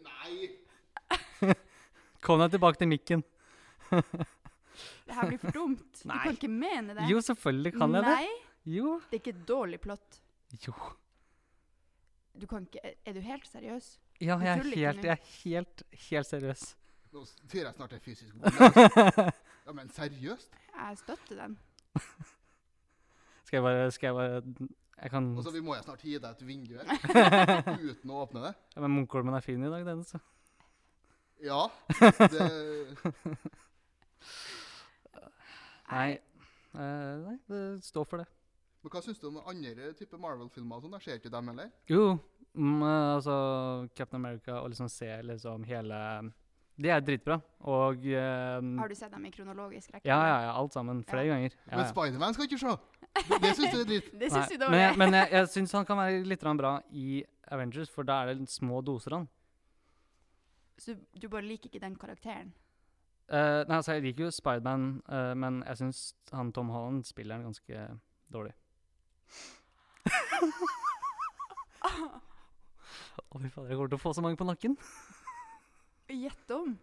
[SPEAKER 1] Nei, nei.
[SPEAKER 2] kom deg tilbake til mikken.
[SPEAKER 3] Det her blir for dumt. Du
[SPEAKER 2] Nei.
[SPEAKER 3] kan ikke mene det.
[SPEAKER 2] Jo, selvfølgelig kan jeg det.
[SPEAKER 3] Nei,
[SPEAKER 2] Jo.
[SPEAKER 3] det er ikke et dårlig plott.
[SPEAKER 2] Jo.
[SPEAKER 3] Du kan ikke Er du helt seriøs?
[SPEAKER 2] Ja,
[SPEAKER 3] Du
[SPEAKER 2] jeg er
[SPEAKER 3] tuller ikke
[SPEAKER 2] helt,
[SPEAKER 3] nå.
[SPEAKER 2] jeg er helt, helt seriøs.
[SPEAKER 3] [laughs]
[SPEAKER 1] Nå sier jeg snart det er fysisk god. Ja, men seriøst?
[SPEAKER 3] Jeg støtter den.
[SPEAKER 2] Skal jeg bare, skal jeg bare Jeg kan
[SPEAKER 1] Og så Altså, vi må jo snart gi deg et vindu
[SPEAKER 2] [laughs]
[SPEAKER 1] her, uten å åpne det.
[SPEAKER 2] ja, Men munkholmen er fin i dag, den, så.
[SPEAKER 1] Ja.
[SPEAKER 2] [laughs]
[SPEAKER 1] Det,
[SPEAKER 2] Nei. Eh, nei, det står for det.
[SPEAKER 1] men hva syns du om andre type Marvel-filmer? og sånn? Jeg ser ikke dem heller.
[SPEAKER 2] Jo, mm, eh, altså Captain America og liksom se liksom hele Det er dritbra. Og eh,
[SPEAKER 3] Har du sett dem i kronologisk rekke?
[SPEAKER 2] ja, ja, ja, alt sammen. Flere ganger. Ja,
[SPEAKER 1] Men
[SPEAKER 2] ja.
[SPEAKER 1] Spiderman skal ikke se! Det, det syns du er dritt.
[SPEAKER 3] Det syns
[SPEAKER 2] Nei,
[SPEAKER 3] du det var
[SPEAKER 2] Men
[SPEAKER 3] det.
[SPEAKER 2] jeg, men jeg, jeg syns han kan være litt grann bra i Avengers, for da er det litt små doser han.
[SPEAKER 3] Så du bare liker ikke den karakteren? [laughs]
[SPEAKER 2] Eh, nei, altså, jeg liker jo Spiderman, uh, men jeg syns han Tom Holland spiller han ganske dårlig. Å, fy fader, jeg kommer til å få så mange på nakken.
[SPEAKER 3] Gjett om.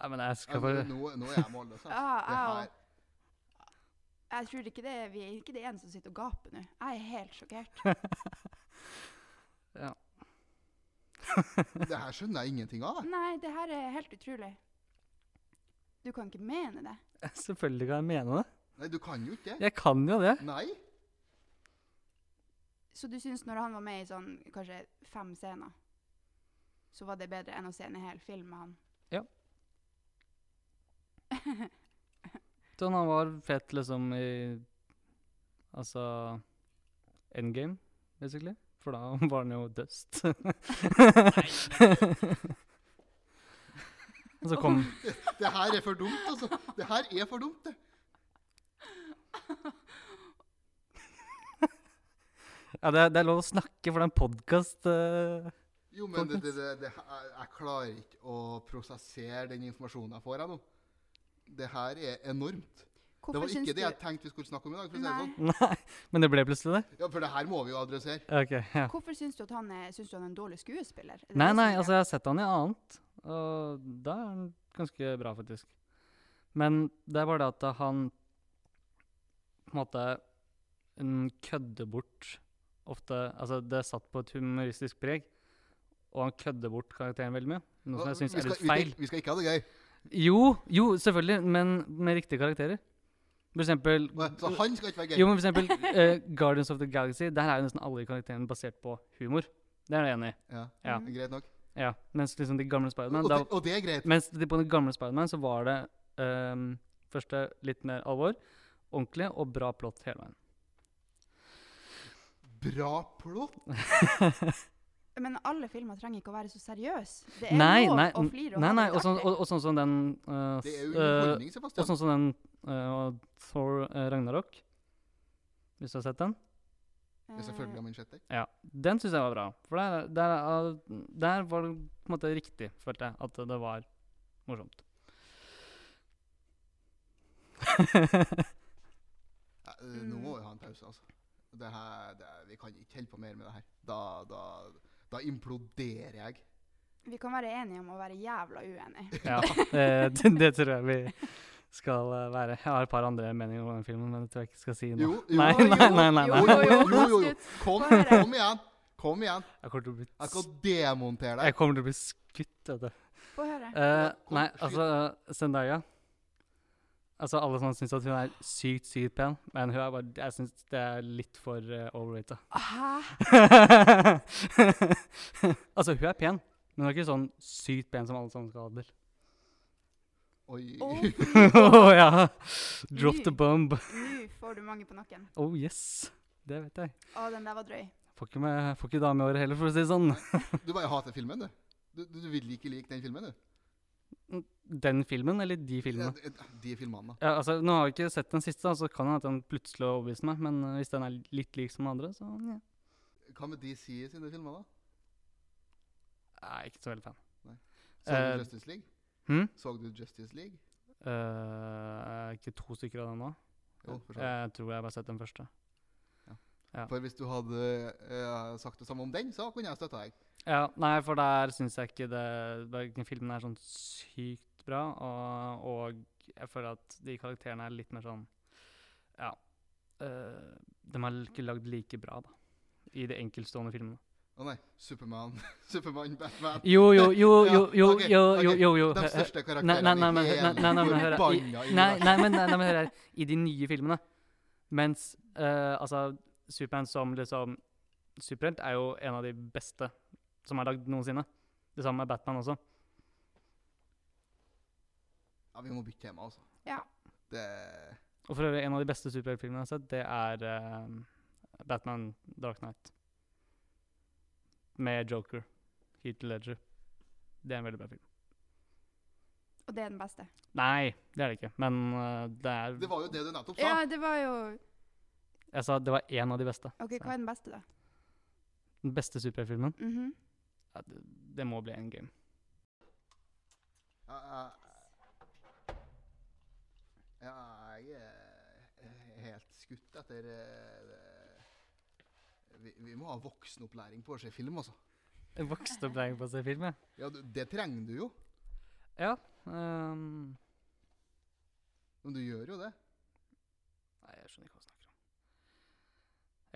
[SPEAKER 2] Nei, men jeg
[SPEAKER 1] Ja,
[SPEAKER 2] [laughs] skal bare
[SPEAKER 1] men Nå, nå er jeg målløs. altså.
[SPEAKER 3] Ah,
[SPEAKER 1] Det
[SPEAKER 3] au.
[SPEAKER 1] her-
[SPEAKER 3] Jeg tror ikke det, vi er ikke det eneste som sitter og gaper nå. Jeg er helt sjokkert.
[SPEAKER 1] det her skjønner jeg ingenting av. jeg.
[SPEAKER 3] Nei, det her er helt utrolig. Du kan ikke mene det.
[SPEAKER 2] [laughs] Selvfølgelig kan jeg mene det.
[SPEAKER 1] Nei, Du kan jo ikke det.
[SPEAKER 2] Jeg kan jo det.
[SPEAKER 1] Nei.
[SPEAKER 3] Så du syns når han var med i sånn kanskje fem scener, så var det bedre enn å se en hel film med han?
[SPEAKER 2] Sånn, han var fett liksom i Altså Endgame, basically. For da [laughs] var han jo dust. Og så kom
[SPEAKER 1] Det her er for dumt, altså. Det her er for dumt, det.
[SPEAKER 2] Ja, det er, det er lov å snakke for eh, det er en podkast.
[SPEAKER 1] Jo, men det, det, det, det, her- jeg klarer ikke å prosessere den informasjonen jeg får her nå. Det her er enormt. Det
[SPEAKER 3] Hvorfor
[SPEAKER 1] var
[SPEAKER 3] syns
[SPEAKER 1] ikke det jeg
[SPEAKER 3] du,
[SPEAKER 1] tenkte vi skulle snakke om i dag. For å si det sånn.
[SPEAKER 2] [laughs]
[SPEAKER 3] Nei.
[SPEAKER 2] Nei, men det ble plutselig det?
[SPEAKER 1] Ja, for det her må vi jo adressere.
[SPEAKER 2] Ok, ja.
[SPEAKER 3] hvorfor syns du at han er, syns du han er en dårlig skuespiller? Er det
[SPEAKER 2] Nei,
[SPEAKER 3] det som
[SPEAKER 2] nei,
[SPEAKER 3] er
[SPEAKER 2] altså jeg har sett han i annet, og da er han ganske bra faktisk. Men det er bare det at han på en måte mm, kødder bort ofte, altså det er satt på et humoristisk preg, og han kødder bort karakteren veldig mye, noe som jeg synes
[SPEAKER 1] vi,
[SPEAKER 2] er
[SPEAKER 1] skal,
[SPEAKER 2] litt
[SPEAKER 1] vi,
[SPEAKER 2] feil.
[SPEAKER 1] skal- vi skal ikke ha det gøy.
[SPEAKER 2] Jo, jo, selvfølgelig, men med riktige karakterer. For eksempel,
[SPEAKER 1] Så han skal ikke være gøy.
[SPEAKER 2] jo, men for eksempel [laughs] eh, Guardians of the Galaxy, der er jo nesten alle karakterene basert på humor. Det er jeg enig i.
[SPEAKER 1] Ja,
[SPEAKER 2] Ja.
[SPEAKER 1] det er Greit nok.
[SPEAKER 2] Ja, mens liksom de gamle Spiderman
[SPEAKER 1] Og,
[SPEAKER 2] da-
[SPEAKER 1] det, og det er greit.
[SPEAKER 2] Mens de på den gamle Spiderman så var det ehm, første litt mer alvor, ordentlig og bra plott hele veien.
[SPEAKER 1] Bra plott.
[SPEAKER 3] Men alle filmer trenger ikke å være så seriøse. Det er
[SPEAKER 2] Nei,
[SPEAKER 3] lov
[SPEAKER 2] nei,
[SPEAKER 3] å flire og
[SPEAKER 2] nei,
[SPEAKER 3] ha
[SPEAKER 2] nei
[SPEAKER 3] det
[SPEAKER 2] og,
[SPEAKER 3] litt
[SPEAKER 2] sånn,
[SPEAKER 3] artig.
[SPEAKER 2] og, og sånn som den eh,
[SPEAKER 1] Det er
[SPEAKER 2] s-
[SPEAKER 1] jo
[SPEAKER 2] eh,
[SPEAKER 1] underholdning,
[SPEAKER 2] Og
[SPEAKER 1] Sebastian.
[SPEAKER 2] sånn som den eh, Thor eh, Ragnarok, hvis du har sett den.
[SPEAKER 1] Det er selvfølgelig av min sjette.
[SPEAKER 2] Ja, Den syns jeg var bra. For der, der, eh, der var det på en måte riktig, følte jeg, at det var morsomt. [laughs]
[SPEAKER 1] Ja, eh, Nå må
[SPEAKER 3] Mm.
[SPEAKER 1] vi ha en pause, altså. Det her, det, vi kan ikke holde på mer med det her. Da, da, da imploderer jeg.
[SPEAKER 3] Eh, vi kan være enige om å være jævla uenige.
[SPEAKER 2] Ja, Eh, det, det tror jeg vi skal eh, være. Jeg har et par andre meninger om den filmen, men det tror jeg ikke jeg skal si nå.
[SPEAKER 1] [laughs] Jo, jo,
[SPEAKER 2] [laughs] nei,
[SPEAKER 1] jo,
[SPEAKER 2] nei, nei, nei,
[SPEAKER 1] Jo, jo, jo,
[SPEAKER 2] nei.
[SPEAKER 1] jo, jo, jo.
[SPEAKER 3] absolutt.
[SPEAKER 1] Kom,
[SPEAKER 3] Få høre.
[SPEAKER 1] kom igjen. Kom igjen.
[SPEAKER 2] Jeg kommer til å bli,
[SPEAKER 1] Jeg skal
[SPEAKER 2] s-
[SPEAKER 1] demontere deg.
[SPEAKER 2] jeg kommer til å bli skutt. Vet du.
[SPEAKER 3] Få høre.
[SPEAKER 2] Eh,
[SPEAKER 1] kom,
[SPEAKER 2] nei,
[SPEAKER 1] skyt.
[SPEAKER 2] altså, Zendaya Altså, Alle som syns at hun er sykt, sykt pen, men hun er bare, jeg syns det er litt for uh, overrated. [laughs]
[SPEAKER 3] Hæ?
[SPEAKER 2] altså, hun er pen, men hun er ikke sånn sykt pen som alle sammen skal ha
[SPEAKER 1] [laughs]
[SPEAKER 2] til.
[SPEAKER 1] Oi.
[SPEAKER 3] Å,
[SPEAKER 2] Å [laughs] ja! Drop the
[SPEAKER 3] Mm.
[SPEAKER 2] bomb.
[SPEAKER 3] Nå får du mange på nakken.
[SPEAKER 2] Oh yes. Det vet jeg.
[SPEAKER 3] Å, den der var drøy.
[SPEAKER 2] Får ikke, med, får ikke dame i året heller, for å si det sånn.
[SPEAKER 1] [laughs] Du bare hater filmen, du. Du, du, du vil ikke like den filmen, du.
[SPEAKER 2] Den filmen, eller de filmene?
[SPEAKER 1] Ja, De filmene, da.
[SPEAKER 2] Ja, altså, Nå har jeg ikke sett den siste, da, så kan det hende at den plutselig overbeviser meg. Men eh, hvis den er litt lik som den andre, så ja.
[SPEAKER 1] Hva med DC i sine filmer, da?
[SPEAKER 2] Jeg er ikke så veldig fan.
[SPEAKER 1] Så
[SPEAKER 2] Eh,
[SPEAKER 1] du Justice League?
[SPEAKER 2] Hm?
[SPEAKER 1] Så du Justice League?
[SPEAKER 2] Eh, er det ikke to stykker av den nå?
[SPEAKER 1] Jo, for så vidt.
[SPEAKER 2] jeg tror jeg har bare sett den første. ja.
[SPEAKER 1] For hvis du hadde eh, sagt det samme om den, så kunne jeg støtta deg.
[SPEAKER 2] Ja, nei, for der syns jeg ikke det Verken filmen er sånn sykt bra, og, og jeg føler at de karakterene er litt mer sånn Ja. eh, de er ikke lagd like bra, da, i de enkeltstående filmene.
[SPEAKER 1] Å nei, Supermann, [laughs] Supermann, Batman
[SPEAKER 2] Jo, jo, jo,
[SPEAKER 1] Ja,
[SPEAKER 2] jo, jo,
[SPEAKER 1] ok,
[SPEAKER 2] jo,
[SPEAKER 1] ok.
[SPEAKER 2] jo, jo, jo.
[SPEAKER 1] De
[SPEAKER 2] hø- hø-
[SPEAKER 1] største
[SPEAKER 2] Nei, nei, nei,
[SPEAKER 1] karakterene
[SPEAKER 2] men,
[SPEAKER 1] i
[SPEAKER 2] nei,
[SPEAKER 1] hele
[SPEAKER 2] nei, nei, men hør her.
[SPEAKER 1] forbanna
[SPEAKER 2] I, nei,
[SPEAKER 1] universet.
[SPEAKER 2] nei, men, nei, nei, men hør her. I de nye filmene Mens eh, altså, Supermann som liksom superhelt er jo en av de beste som er lagd noensinne. Det samme med Batman også.
[SPEAKER 1] Ja, vi må bytte tema, altså.
[SPEAKER 3] Ja.
[SPEAKER 1] Det
[SPEAKER 2] Og for øvrig, en av de beste superheltfilmene jeg har sett, det er eh, Batman Dark Knight. Med Joker. Heath Ledger. Det er en veldig bra film.
[SPEAKER 3] Og det er den beste.
[SPEAKER 2] Nei, det er det ikke. Men eh, det er
[SPEAKER 1] Det var jo det du nettopp sa.
[SPEAKER 3] Ja, det var jo
[SPEAKER 2] Jeg sa det var én av de beste.
[SPEAKER 3] OK, hva er den beste, da?
[SPEAKER 2] Den beste superheltfilmen.
[SPEAKER 3] Mhm.
[SPEAKER 2] Ja, det, det må bli Endgame.
[SPEAKER 1] Ja, ja, ja, jeg er helt skutt etter eh, det. vi, vi må ha voksenopplæring på å se film, altså.
[SPEAKER 2] Jeg vokste opp der på å se film, jeg.
[SPEAKER 1] Ja, du- det trenger du jo.
[SPEAKER 2] Ja. ehm,
[SPEAKER 1] Men du gjør jo det.
[SPEAKER 2] nei, jeg skjønner ikke hva du snakker om.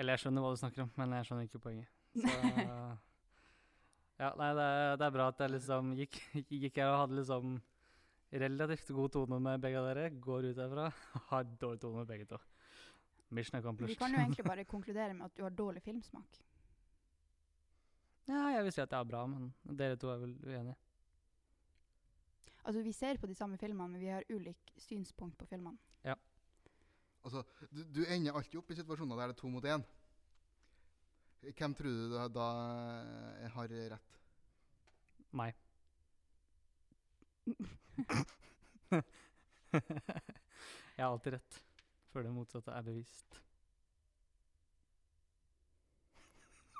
[SPEAKER 2] Eller jeg skjønner hva du snakker om, men jeg skjønner ikke poenget. Så, ja, nei, det er, det er bra at jeg liksom gikk, gikk her og hadde liksom relativt god tone med begge av dere. Går ut herfra, har dårlig tone med begge to. Mission
[SPEAKER 3] Vi
[SPEAKER 2] accomplished.
[SPEAKER 3] kan jo egentlig bare konkludere med at du har dårlig filmsmak.
[SPEAKER 2] Ja, jeg vil si at jeg er bra, men dere to er vel uenige.
[SPEAKER 3] Altså, vi ser på de samme filmene, men vi har ulik synspunkt på filmene.
[SPEAKER 1] Altså, du, du ender alltid opp i situasjoner der det er to mot én. Hvem tror du da, da har rett?
[SPEAKER 2] Meg. [laughs] jeg har alltid rett. Før det motsatte er bevist. [laughs]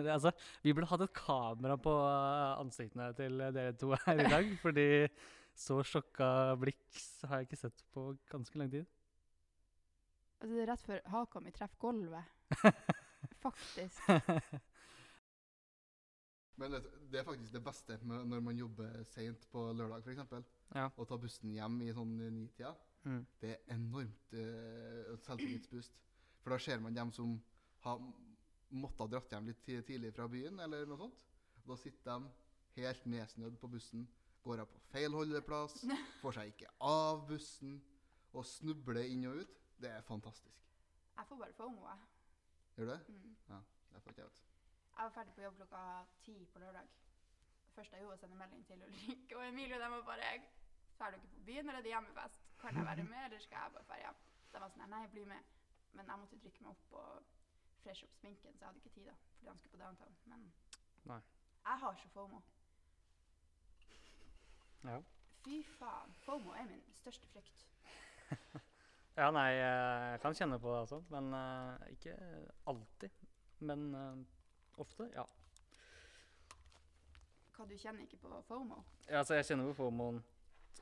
[SPEAKER 2] det, altså, vi burde hatt et kamera på eh, ansiktene til eh, dere to her i dag. fordi så sjokka blikk s- har jeg ikke sett på ganske lang tid.
[SPEAKER 3] Altså, det er rett før haka mi treffer
[SPEAKER 2] [laughs]
[SPEAKER 3] gulvet. Faktisk.
[SPEAKER 1] Men vet, du, det er faktisk det beste med når man jobber seint på lørdag, f.eks.
[SPEAKER 2] Ja.
[SPEAKER 1] Og tar bussen hjem i sånn nitida.
[SPEAKER 2] Mm.
[SPEAKER 1] Det er enormt uh, selvtillitsboost. For da ser man dem som har måttet ha dratt hjem litt ti- tidlig fra byen, eller noe sånt. Da sitter de helt nedsnødd på bussen, går av på feil holdeplass,
[SPEAKER 2] [laughs]
[SPEAKER 1] får seg ikke av bussen, og snubler inn og ut. Det er fantastisk.
[SPEAKER 3] Jeg får bare FOMO, jeg.
[SPEAKER 1] Gjør du det?
[SPEAKER 3] Mm.
[SPEAKER 1] Det får ikke jeg vet.
[SPEAKER 3] Jeg var ferdig på jobb klokka ti på lørdag. Det første jeg gjorde, var å sende melding til Ulrik og Emilie. og De var bare Drar dere på byen, eller er det hjemmefest? Kan jeg være med, eller skal jeg bare dra hjem? De var sånn Nei, bli med. Men jeg måtte drikke meg opp og freshe opp sminken, så jeg hadde ikke tid, da. Fordi han skulle på downtown. Men
[SPEAKER 2] Nei.
[SPEAKER 3] jeg har så FOMO.
[SPEAKER 2] Ja.
[SPEAKER 3] Fy faen. FOMO er min største frykt.
[SPEAKER 2] Ja, nei, eh, jeg kan kjenne på det altså. Men eh, ikke alltid. Men eh, ofte, ja.
[SPEAKER 3] Hva, du kjenner ikke på FOMO?
[SPEAKER 2] Ja, altså, jeg kjenner på FOMOen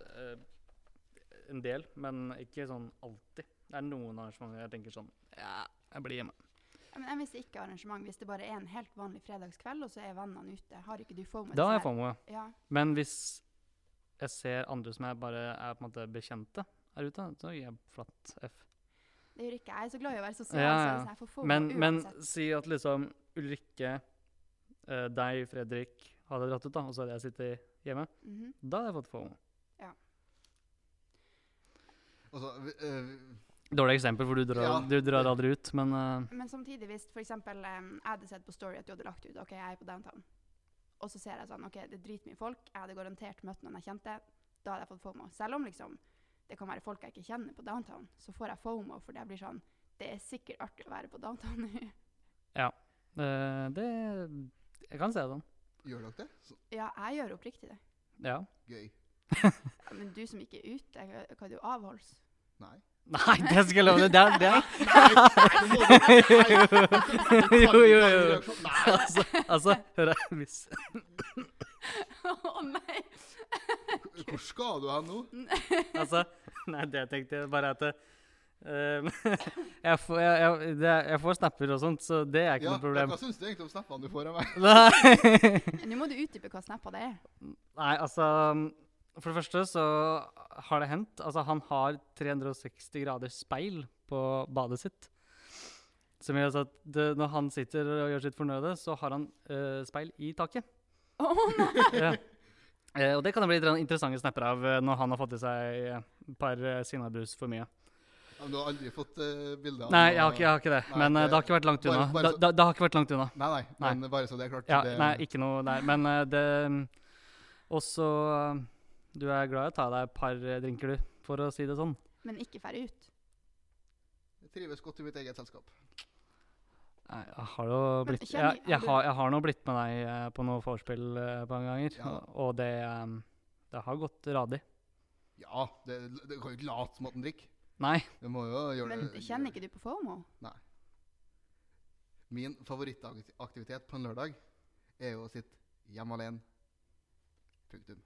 [SPEAKER 2] eh, en del, men ikke sånn alltid. Det er noen arrangementer jeg tenker sånn Ja, jeg blir hjemme.
[SPEAKER 3] Ja, men jeg mister ikke arrangement hvis det bare er en helt vanlig fredagskveld, og så er vennene ute. Har ikke du FOMO?
[SPEAKER 2] Da har jeg
[SPEAKER 3] Sånn
[SPEAKER 2] FOMO, ja.
[SPEAKER 3] der- Ja.
[SPEAKER 2] Men hvis jeg ser andre som jeg bare er på en måte bekjente her ute, så gir jeg flatt F.
[SPEAKER 3] Det gjør ikke jeg. Jeg er så glad i å være sosial.
[SPEAKER 2] Ja,
[SPEAKER 3] så
[SPEAKER 2] ja.
[SPEAKER 3] hvis jeg får FOMO
[SPEAKER 2] Men, men
[SPEAKER 3] uansett.
[SPEAKER 2] si at liksom Ulrikke, eh, deg, Fredrik hadde dratt ut, da, og så hadde jeg sittet hjemme.
[SPEAKER 3] Mhm.
[SPEAKER 2] Da hadde jeg fått FOMO.
[SPEAKER 1] Altså, vi- eh,
[SPEAKER 2] Dårlig eksempel, for du drar,
[SPEAKER 1] Ja.
[SPEAKER 2] du drar aldri ut, men eh,
[SPEAKER 3] Men samtidig, hvis for eksempel um, jeg hadde sett på Story at du hadde lagt ut ok, jeg er på downtown, og så ser jeg sånn OK, det er dritmye folk, jeg hadde garantert møtt noen jeg kjente, da hadde jeg fått FOMO. Selv om liksom det kan være folk jeg ikke kjenner på downtown, så får jeg FOMO fordi jeg blir sånn Det er sikkert artig å være på downtown nå. [laughs]
[SPEAKER 2] eh, det Jeg kan se den.
[SPEAKER 1] gjør dere det? Så,
[SPEAKER 3] ja, jeg gjør oppriktig det.
[SPEAKER 2] Ja.
[SPEAKER 1] gøy.
[SPEAKER 3] Ja, men du som ikke er ute, hva hva er du avholds?
[SPEAKER 1] Nei.
[SPEAKER 2] Nei, det skal jeg love deg. Det er, det er. [laughs]
[SPEAKER 1] Jo,
[SPEAKER 2] Jo, jo, jo. Altså, altså, hør her. Hvis
[SPEAKER 3] [laughs] Å nei! [laughs]
[SPEAKER 1] Hvor skal du hen nå?
[SPEAKER 2] Altså, nei, det tenkte jeg bare at det, ehm, [laughs] jeg, får, jeg, jeg, det, er- jeg får snapper og sånt, så det er ikke
[SPEAKER 1] Ja,
[SPEAKER 2] noe problem.
[SPEAKER 1] Hva syns du egentlig om snappene du får av meg?
[SPEAKER 2] Nei.
[SPEAKER 3] Nå må du utdype hva snappa det er.
[SPEAKER 2] [laughs] nei, altså For det første så har det hendt. Altså, han har 360 graders speil på badet sitt. Som gjør altså at det, når han sitter og gjør sitt fornøde, så har han eh, speil i taket.
[SPEAKER 3] Å nei!
[SPEAKER 2] Ja. [laughs] Eh, og det kan det bli litt interessante snapper av eh, når han har fått i seg eh, et par eh, sinnabrus for mye.
[SPEAKER 1] Ja, men Du har aldri fått eh, bilde av noe-
[SPEAKER 2] Nei, jeg har ikke, jeg har ikke det.
[SPEAKER 1] Nei,
[SPEAKER 2] Men eh,
[SPEAKER 1] det-
[SPEAKER 2] det har ikke vært langt
[SPEAKER 1] bare-
[SPEAKER 2] unna.
[SPEAKER 1] bare
[SPEAKER 2] Da-
[SPEAKER 1] så-
[SPEAKER 2] da- Det har ikke vært langt unna.
[SPEAKER 1] eh, Nei, nei,
[SPEAKER 2] Nei.
[SPEAKER 1] men bare så det er klart.
[SPEAKER 2] Ja,
[SPEAKER 1] det,
[SPEAKER 2] nei, ikke noe der. Men eh, det Og så eh, Du er glad i å ta deg et par eh, drinker, du, for å si det sånn.
[SPEAKER 3] Men ikke færre ut.
[SPEAKER 1] Jeg trives godt i mitt eget selskap.
[SPEAKER 2] Nei, Jeg har jo
[SPEAKER 3] Men
[SPEAKER 2] blitt
[SPEAKER 3] kjenner-
[SPEAKER 2] Jeg, jeg, har, jeg har nå blitt med deg eh, på noe vorspiel eh, et par ganger,
[SPEAKER 1] Ja.
[SPEAKER 2] og- og det eh, Det har gått radig.
[SPEAKER 1] Ja, det, det kan jo ikke late som at den drikker.
[SPEAKER 2] Nei.
[SPEAKER 1] Det må jo gjøre
[SPEAKER 3] Men
[SPEAKER 1] det
[SPEAKER 3] kjenner ikke du på FOMO?
[SPEAKER 1] Min favorittaktivitet på en lørdag er jo å sitte hjemme alene. Punktum.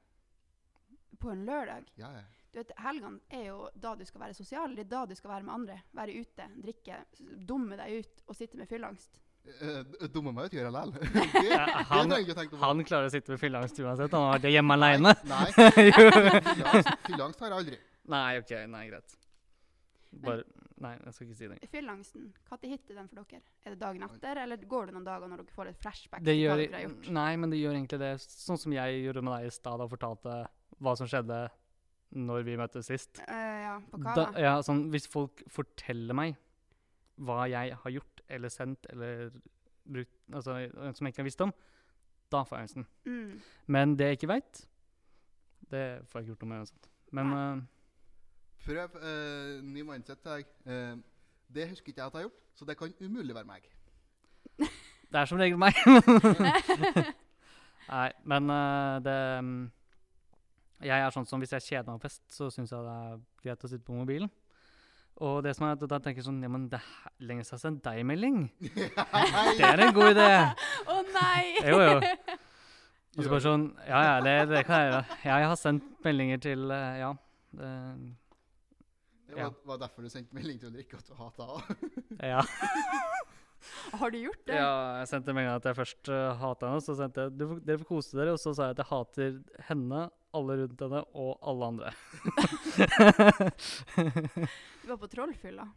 [SPEAKER 3] På en lørdag?
[SPEAKER 1] Ja, ja.
[SPEAKER 3] Du vet, Helgene er jo da du skal være sosial. Det er da du skal være med andre. Være ute, drikke, s- dumme deg ut og sitte med fylleangst.
[SPEAKER 1] Eh, d- Dummer meg ut, gjør jeg
[SPEAKER 2] [laughs]
[SPEAKER 1] likevel. Det, det
[SPEAKER 2] han-
[SPEAKER 1] trenger jeg ikke å tenke på.
[SPEAKER 2] Han klarer å sitte ved fylleangst uansett. Han
[SPEAKER 1] [laughs]
[SPEAKER 2] har vært hjemme aleine. [laughs]
[SPEAKER 1] Nei, fylleangst fylleangst har jeg aldri.
[SPEAKER 2] Nei, OK. Nei, greit. Bare Nei, jeg skal ikke si det.
[SPEAKER 3] Fylleangsten, når hitter den for dere? Er det dagen etter, eller går det noen dager når dere får et flashback?
[SPEAKER 2] Det
[SPEAKER 3] til hva
[SPEAKER 2] gjør,
[SPEAKER 3] dere har gjort?
[SPEAKER 2] nei, men det gjør egentlig det. Sånn som jeg gjorde med deg i stad og fortalte hva som skjedde når vi møttes sist.
[SPEAKER 3] Eh, ja, på
[SPEAKER 2] Da,
[SPEAKER 3] kava?
[SPEAKER 2] ja, sånn, hvis folk forteller meg hva jeg har gjort eller sendt eller brukt, altså, som jeg ikke har visst om, da får jeg angsten. [laughs]
[SPEAKER 3] Mm.
[SPEAKER 2] Men det jeg ikke veit, det får jeg ikke gjort noe med uansett. Men eh,
[SPEAKER 1] Prøv eh, ny mindset til deg. Eh, det husker ikke jeg at jeg har gjort, så det kan umulig være meg. [laughs]
[SPEAKER 2] det er som regel meg. nei, men eh, det mm, Jeg er sånn som hvis jeg kjeder meg på fest, så syns jeg det er greit å sitte på mobilen. Og det som er at da tenker jeg sånn Ja, men det her, lenge siden jeg har sendt deg melding. Det
[SPEAKER 1] Nei,
[SPEAKER 2] er en god
[SPEAKER 3] [laughs]
[SPEAKER 2] idé.
[SPEAKER 3] Å
[SPEAKER 2] [laughs]
[SPEAKER 3] nei!
[SPEAKER 2] Jo, jo. Og så bare sånn Ja, ja, det, det kan jeg gjøre. Jeg har sendt meldinger til eh, Ja. eh,
[SPEAKER 1] det
[SPEAKER 2] ja.
[SPEAKER 1] var, var derfor du sendte melding til Ulrikke at du hata henne. [laughs]
[SPEAKER 3] [laughs]
[SPEAKER 2] ja.
[SPEAKER 3] Har du gjort det?
[SPEAKER 2] ja, jeg sendte melding at jeg først uh, hata henne. Så sendte jeg «Du får- Dere får kose dere. Og så sa jeg at jeg hater henne, alle rundt henne og alle andre.
[SPEAKER 3] Du var på Trollfylla. Har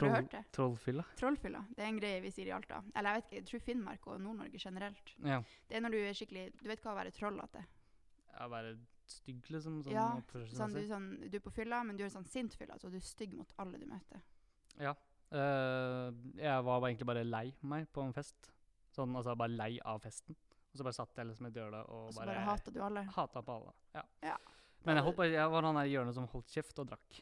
[SPEAKER 2] Troll-
[SPEAKER 3] du hørt det?
[SPEAKER 2] Trollfylla?
[SPEAKER 3] Trollfylla. Det er en greie vi sier i Alta. Eller jeg vet ikke, jeg tror Finnmark og Nord-Norge generelt.
[SPEAKER 2] Ja.
[SPEAKER 3] Det er når du er skikkelig Du vet hva å være trollete?
[SPEAKER 2] Ja, være stygg, liksom. Sånn,
[SPEAKER 3] Ja,
[SPEAKER 2] oppførselsmessig.
[SPEAKER 3] Sånn, du, er sånn, du er på fylla, men du er en sånn sint fylla, så du er stygg mot alle du møter.
[SPEAKER 2] Eh, jeg var bare egentlig bare lei meg på en fest. Sånn, altså bare lei av festen. Og så bare satt jeg liksom i døla og
[SPEAKER 3] Og så
[SPEAKER 2] bare,
[SPEAKER 3] bare hater du alle.
[SPEAKER 2] hata på alle. Ja.
[SPEAKER 3] Ja,
[SPEAKER 2] Men jeg,
[SPEAKER 3] hadde-
[SPEAKER 2] holdt bare, jeg var han der i hjørnet som holdt kjeft og drakk.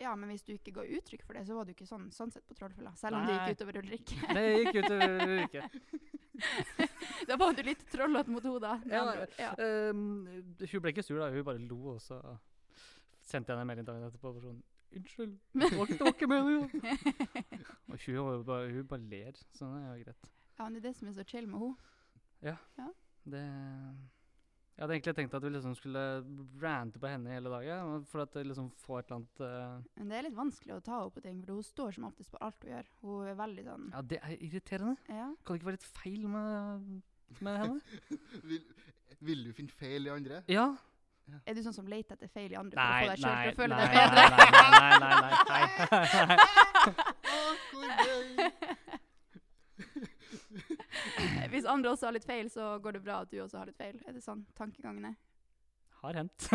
[SPEAKER 3] Ja, men hvis du ikke ga uttrykk for det, så var du ikke sånn, sånn sett på Trollfylla. Selv om det
[SPEAKER 2] Nei.
[SPEAKER 3] gikk utover Ulrikke.
[SPEAKER 2] [laughs] Det gikk utover uke.
[SPEAKER 3] [laughs] da var du litt trollete mot hodet. med
[SPEAKER 2] Ja,
[SPEAKER 3] andre ord. ja.
[SPEAKER 2] Um, hun ble ikke sur, da. Hun bare lo, og så sendte jeg henne en melding dagen etterpå. og var Sånn, 'Unnskyld, det var ikke- det var ikke
[SPEAKER 3] [laughs]
[SPEAKER 2] meningen.' Og hun, var jo bare, hun bare ler, så det er jo greit.
[SPEAKER 3] ja, men det er det som er så chill med henne.
[SPEAKER 2] Det Jeg hadde egentlig tenkt at vi liksom skulle rante på henne hele dagen, for at det liksom får et eller annet eh,
[SPEAKER 3] Men det er litt vanskelig å ta henne på ting, for hun står som oftest på alt hun gjør. Hun er veldig sånn
[SPEAKER 2] Ja, det er irriterende.
[SPEAKER 3] Ja.
[SPEAKER 2] Kan det ikke være litt feil med, med henne?
[SPEAKER 1] Vil, vil du finne feil i andre?
[SPEAKER 2] [laughs] Ja.
[SPEAKER 3] Er du sånn som leter etter feil i andre
[SPEAKER 2] Nei,
[SPEAKER 3] for å få deg
[SPEAKER 2] nei,
[SPEAKER 3] sjøl til å føle
[SPEAKER 2] nei,
[SPEAKER 3] deg
[SPEAKER 2] nei,
[SPEAKER 3] bedre?
[SPEAKER 2] nei, nei, nei, nei, nei, nei, nei.
[SPEAKER 1] Å, hvor gøy!
[SPEAKER 3] [laughs] Hvis andre også har litt feil, så går det bra at du også har litt feil. Er det sånn tankegangen er?
[SPEAKER 2] Har hendt.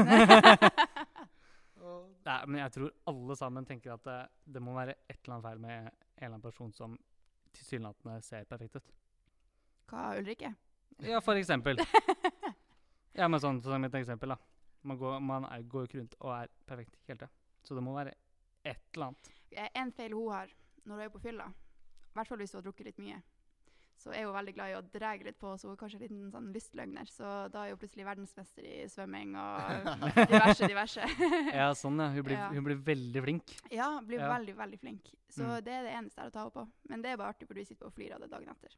[SPEAKER 1] Å,
[SPEAKER 2] [laughs] Nei, men jeg tror alle sammen tenker at det, det må være et eller annet feil med en eller annen person som tilsynelatende ser perfekt ut.
[SPEAKER 3] [laughs] Hva,
[SPEAKER 2] [laughs]
[SPEAKER 3] Ulrikke?
[SPEAKER 2] Ja, for eksempel. Ja, men sånn som et eksempel, da. Man går, man er, går jo ikke rundt og er perfekt hele tida. Så det må være et eller annet.
[SPEAKER 3] Eh, En feil hun har når hun er på fylla, i hvert fall hvis hun har drukket litt mye, så er hun veldig glad i å dra litt på, så hun er kanskje en liten sånn lystløgner. Så da er hun plutselig verdensmester i svømming
[SPEAKER 2] [laughs]
[SPEAKER 3] og diverse, diverse.
[SPEAKER 2] Ja, sånn, ja. Hun blir,
[SPEAKER 3] Ja.
[SPEAKER 2] Hun blir veldig flink.
[SPEAKER 3] [laughs] ja, blir
[SPEAKER 2] Ja.
[SPEAKER 3] veldig, veldig flink. Så
[SPEAKER 2] Mm.
[SPEAKER 3] det er det eneste jeg har å ta henne på. Men det er bare artig, for du sitter og flirer av det dagen etter.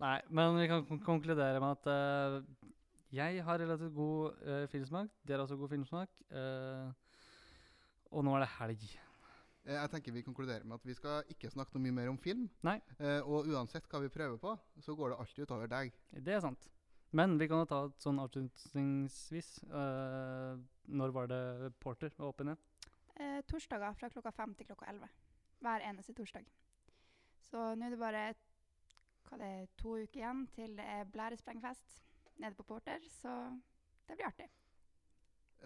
[SPEAKER 2] Nei, men vi kan kon- konkludere med at eh, jeg har relativt god eh, filmsmak. Dere har også god filmsmak. eh, og nå er det helg.
[SPEAKER 1] Eh, Jeg tenker Vi konkluderer med at vi skal ikke snakke noe mye mer om film.
[SPEAKER 2] Nei.
[SPEAKER 1] Eh, og uansett hva vi prøver på, så går det alltid utover deg.
[SPEAKER 2] Det er sant. Men vi kan jo ta et sånn avslutningsvis. eh, når var det Porter var åpen igjen?
[SPEAKER 3] Eh, torsdager fra klokka fem til klokka elleve. Hver eneste torsdag. Så nå er det bare hva det er, to uker igjen til det er blæresprengfest nede på Porter, så det blir artig.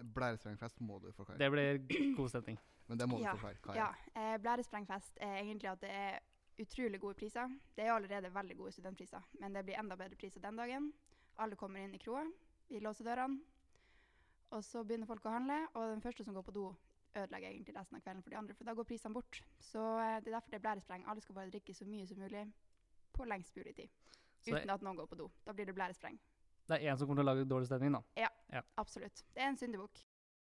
[SPEAKER 1] Blærestrengfest må du forklare.
[SPEAKER 2] Det blir god stemning.
[SPEAKER 1] Men det må du
[SPEAKER 3] Ja.
[SPEAKER 1] forklare. Kaja.
[SPEAKER 3] Ja, eh, Blæresprengfest er egentlig at det er utrolig gode priser. Det er jo allerede veldig gode studentpriser, men det blir enda bedre priser den dagen. Alle kommer inn i kroa, vi låser dørene, og så begynner folk å handle. Og den første som går på do, ødelegger egentlig resten av kvelden for de andre, for da går prisene bort. Så eh, det er derfor det er blærespreng. Alle skal bare drikke så mye som mulig på lengst mulig tid.
[SPEAKER 2] Så det-
[SPEAKER 3] Uten at noen går på do. Da blir det blærespreng.
[SPEAKER 2] Det er én som kommer til å lage dårlig stemning, da.
[SPEAKER 3] Absolutt. Det er en syndebukk.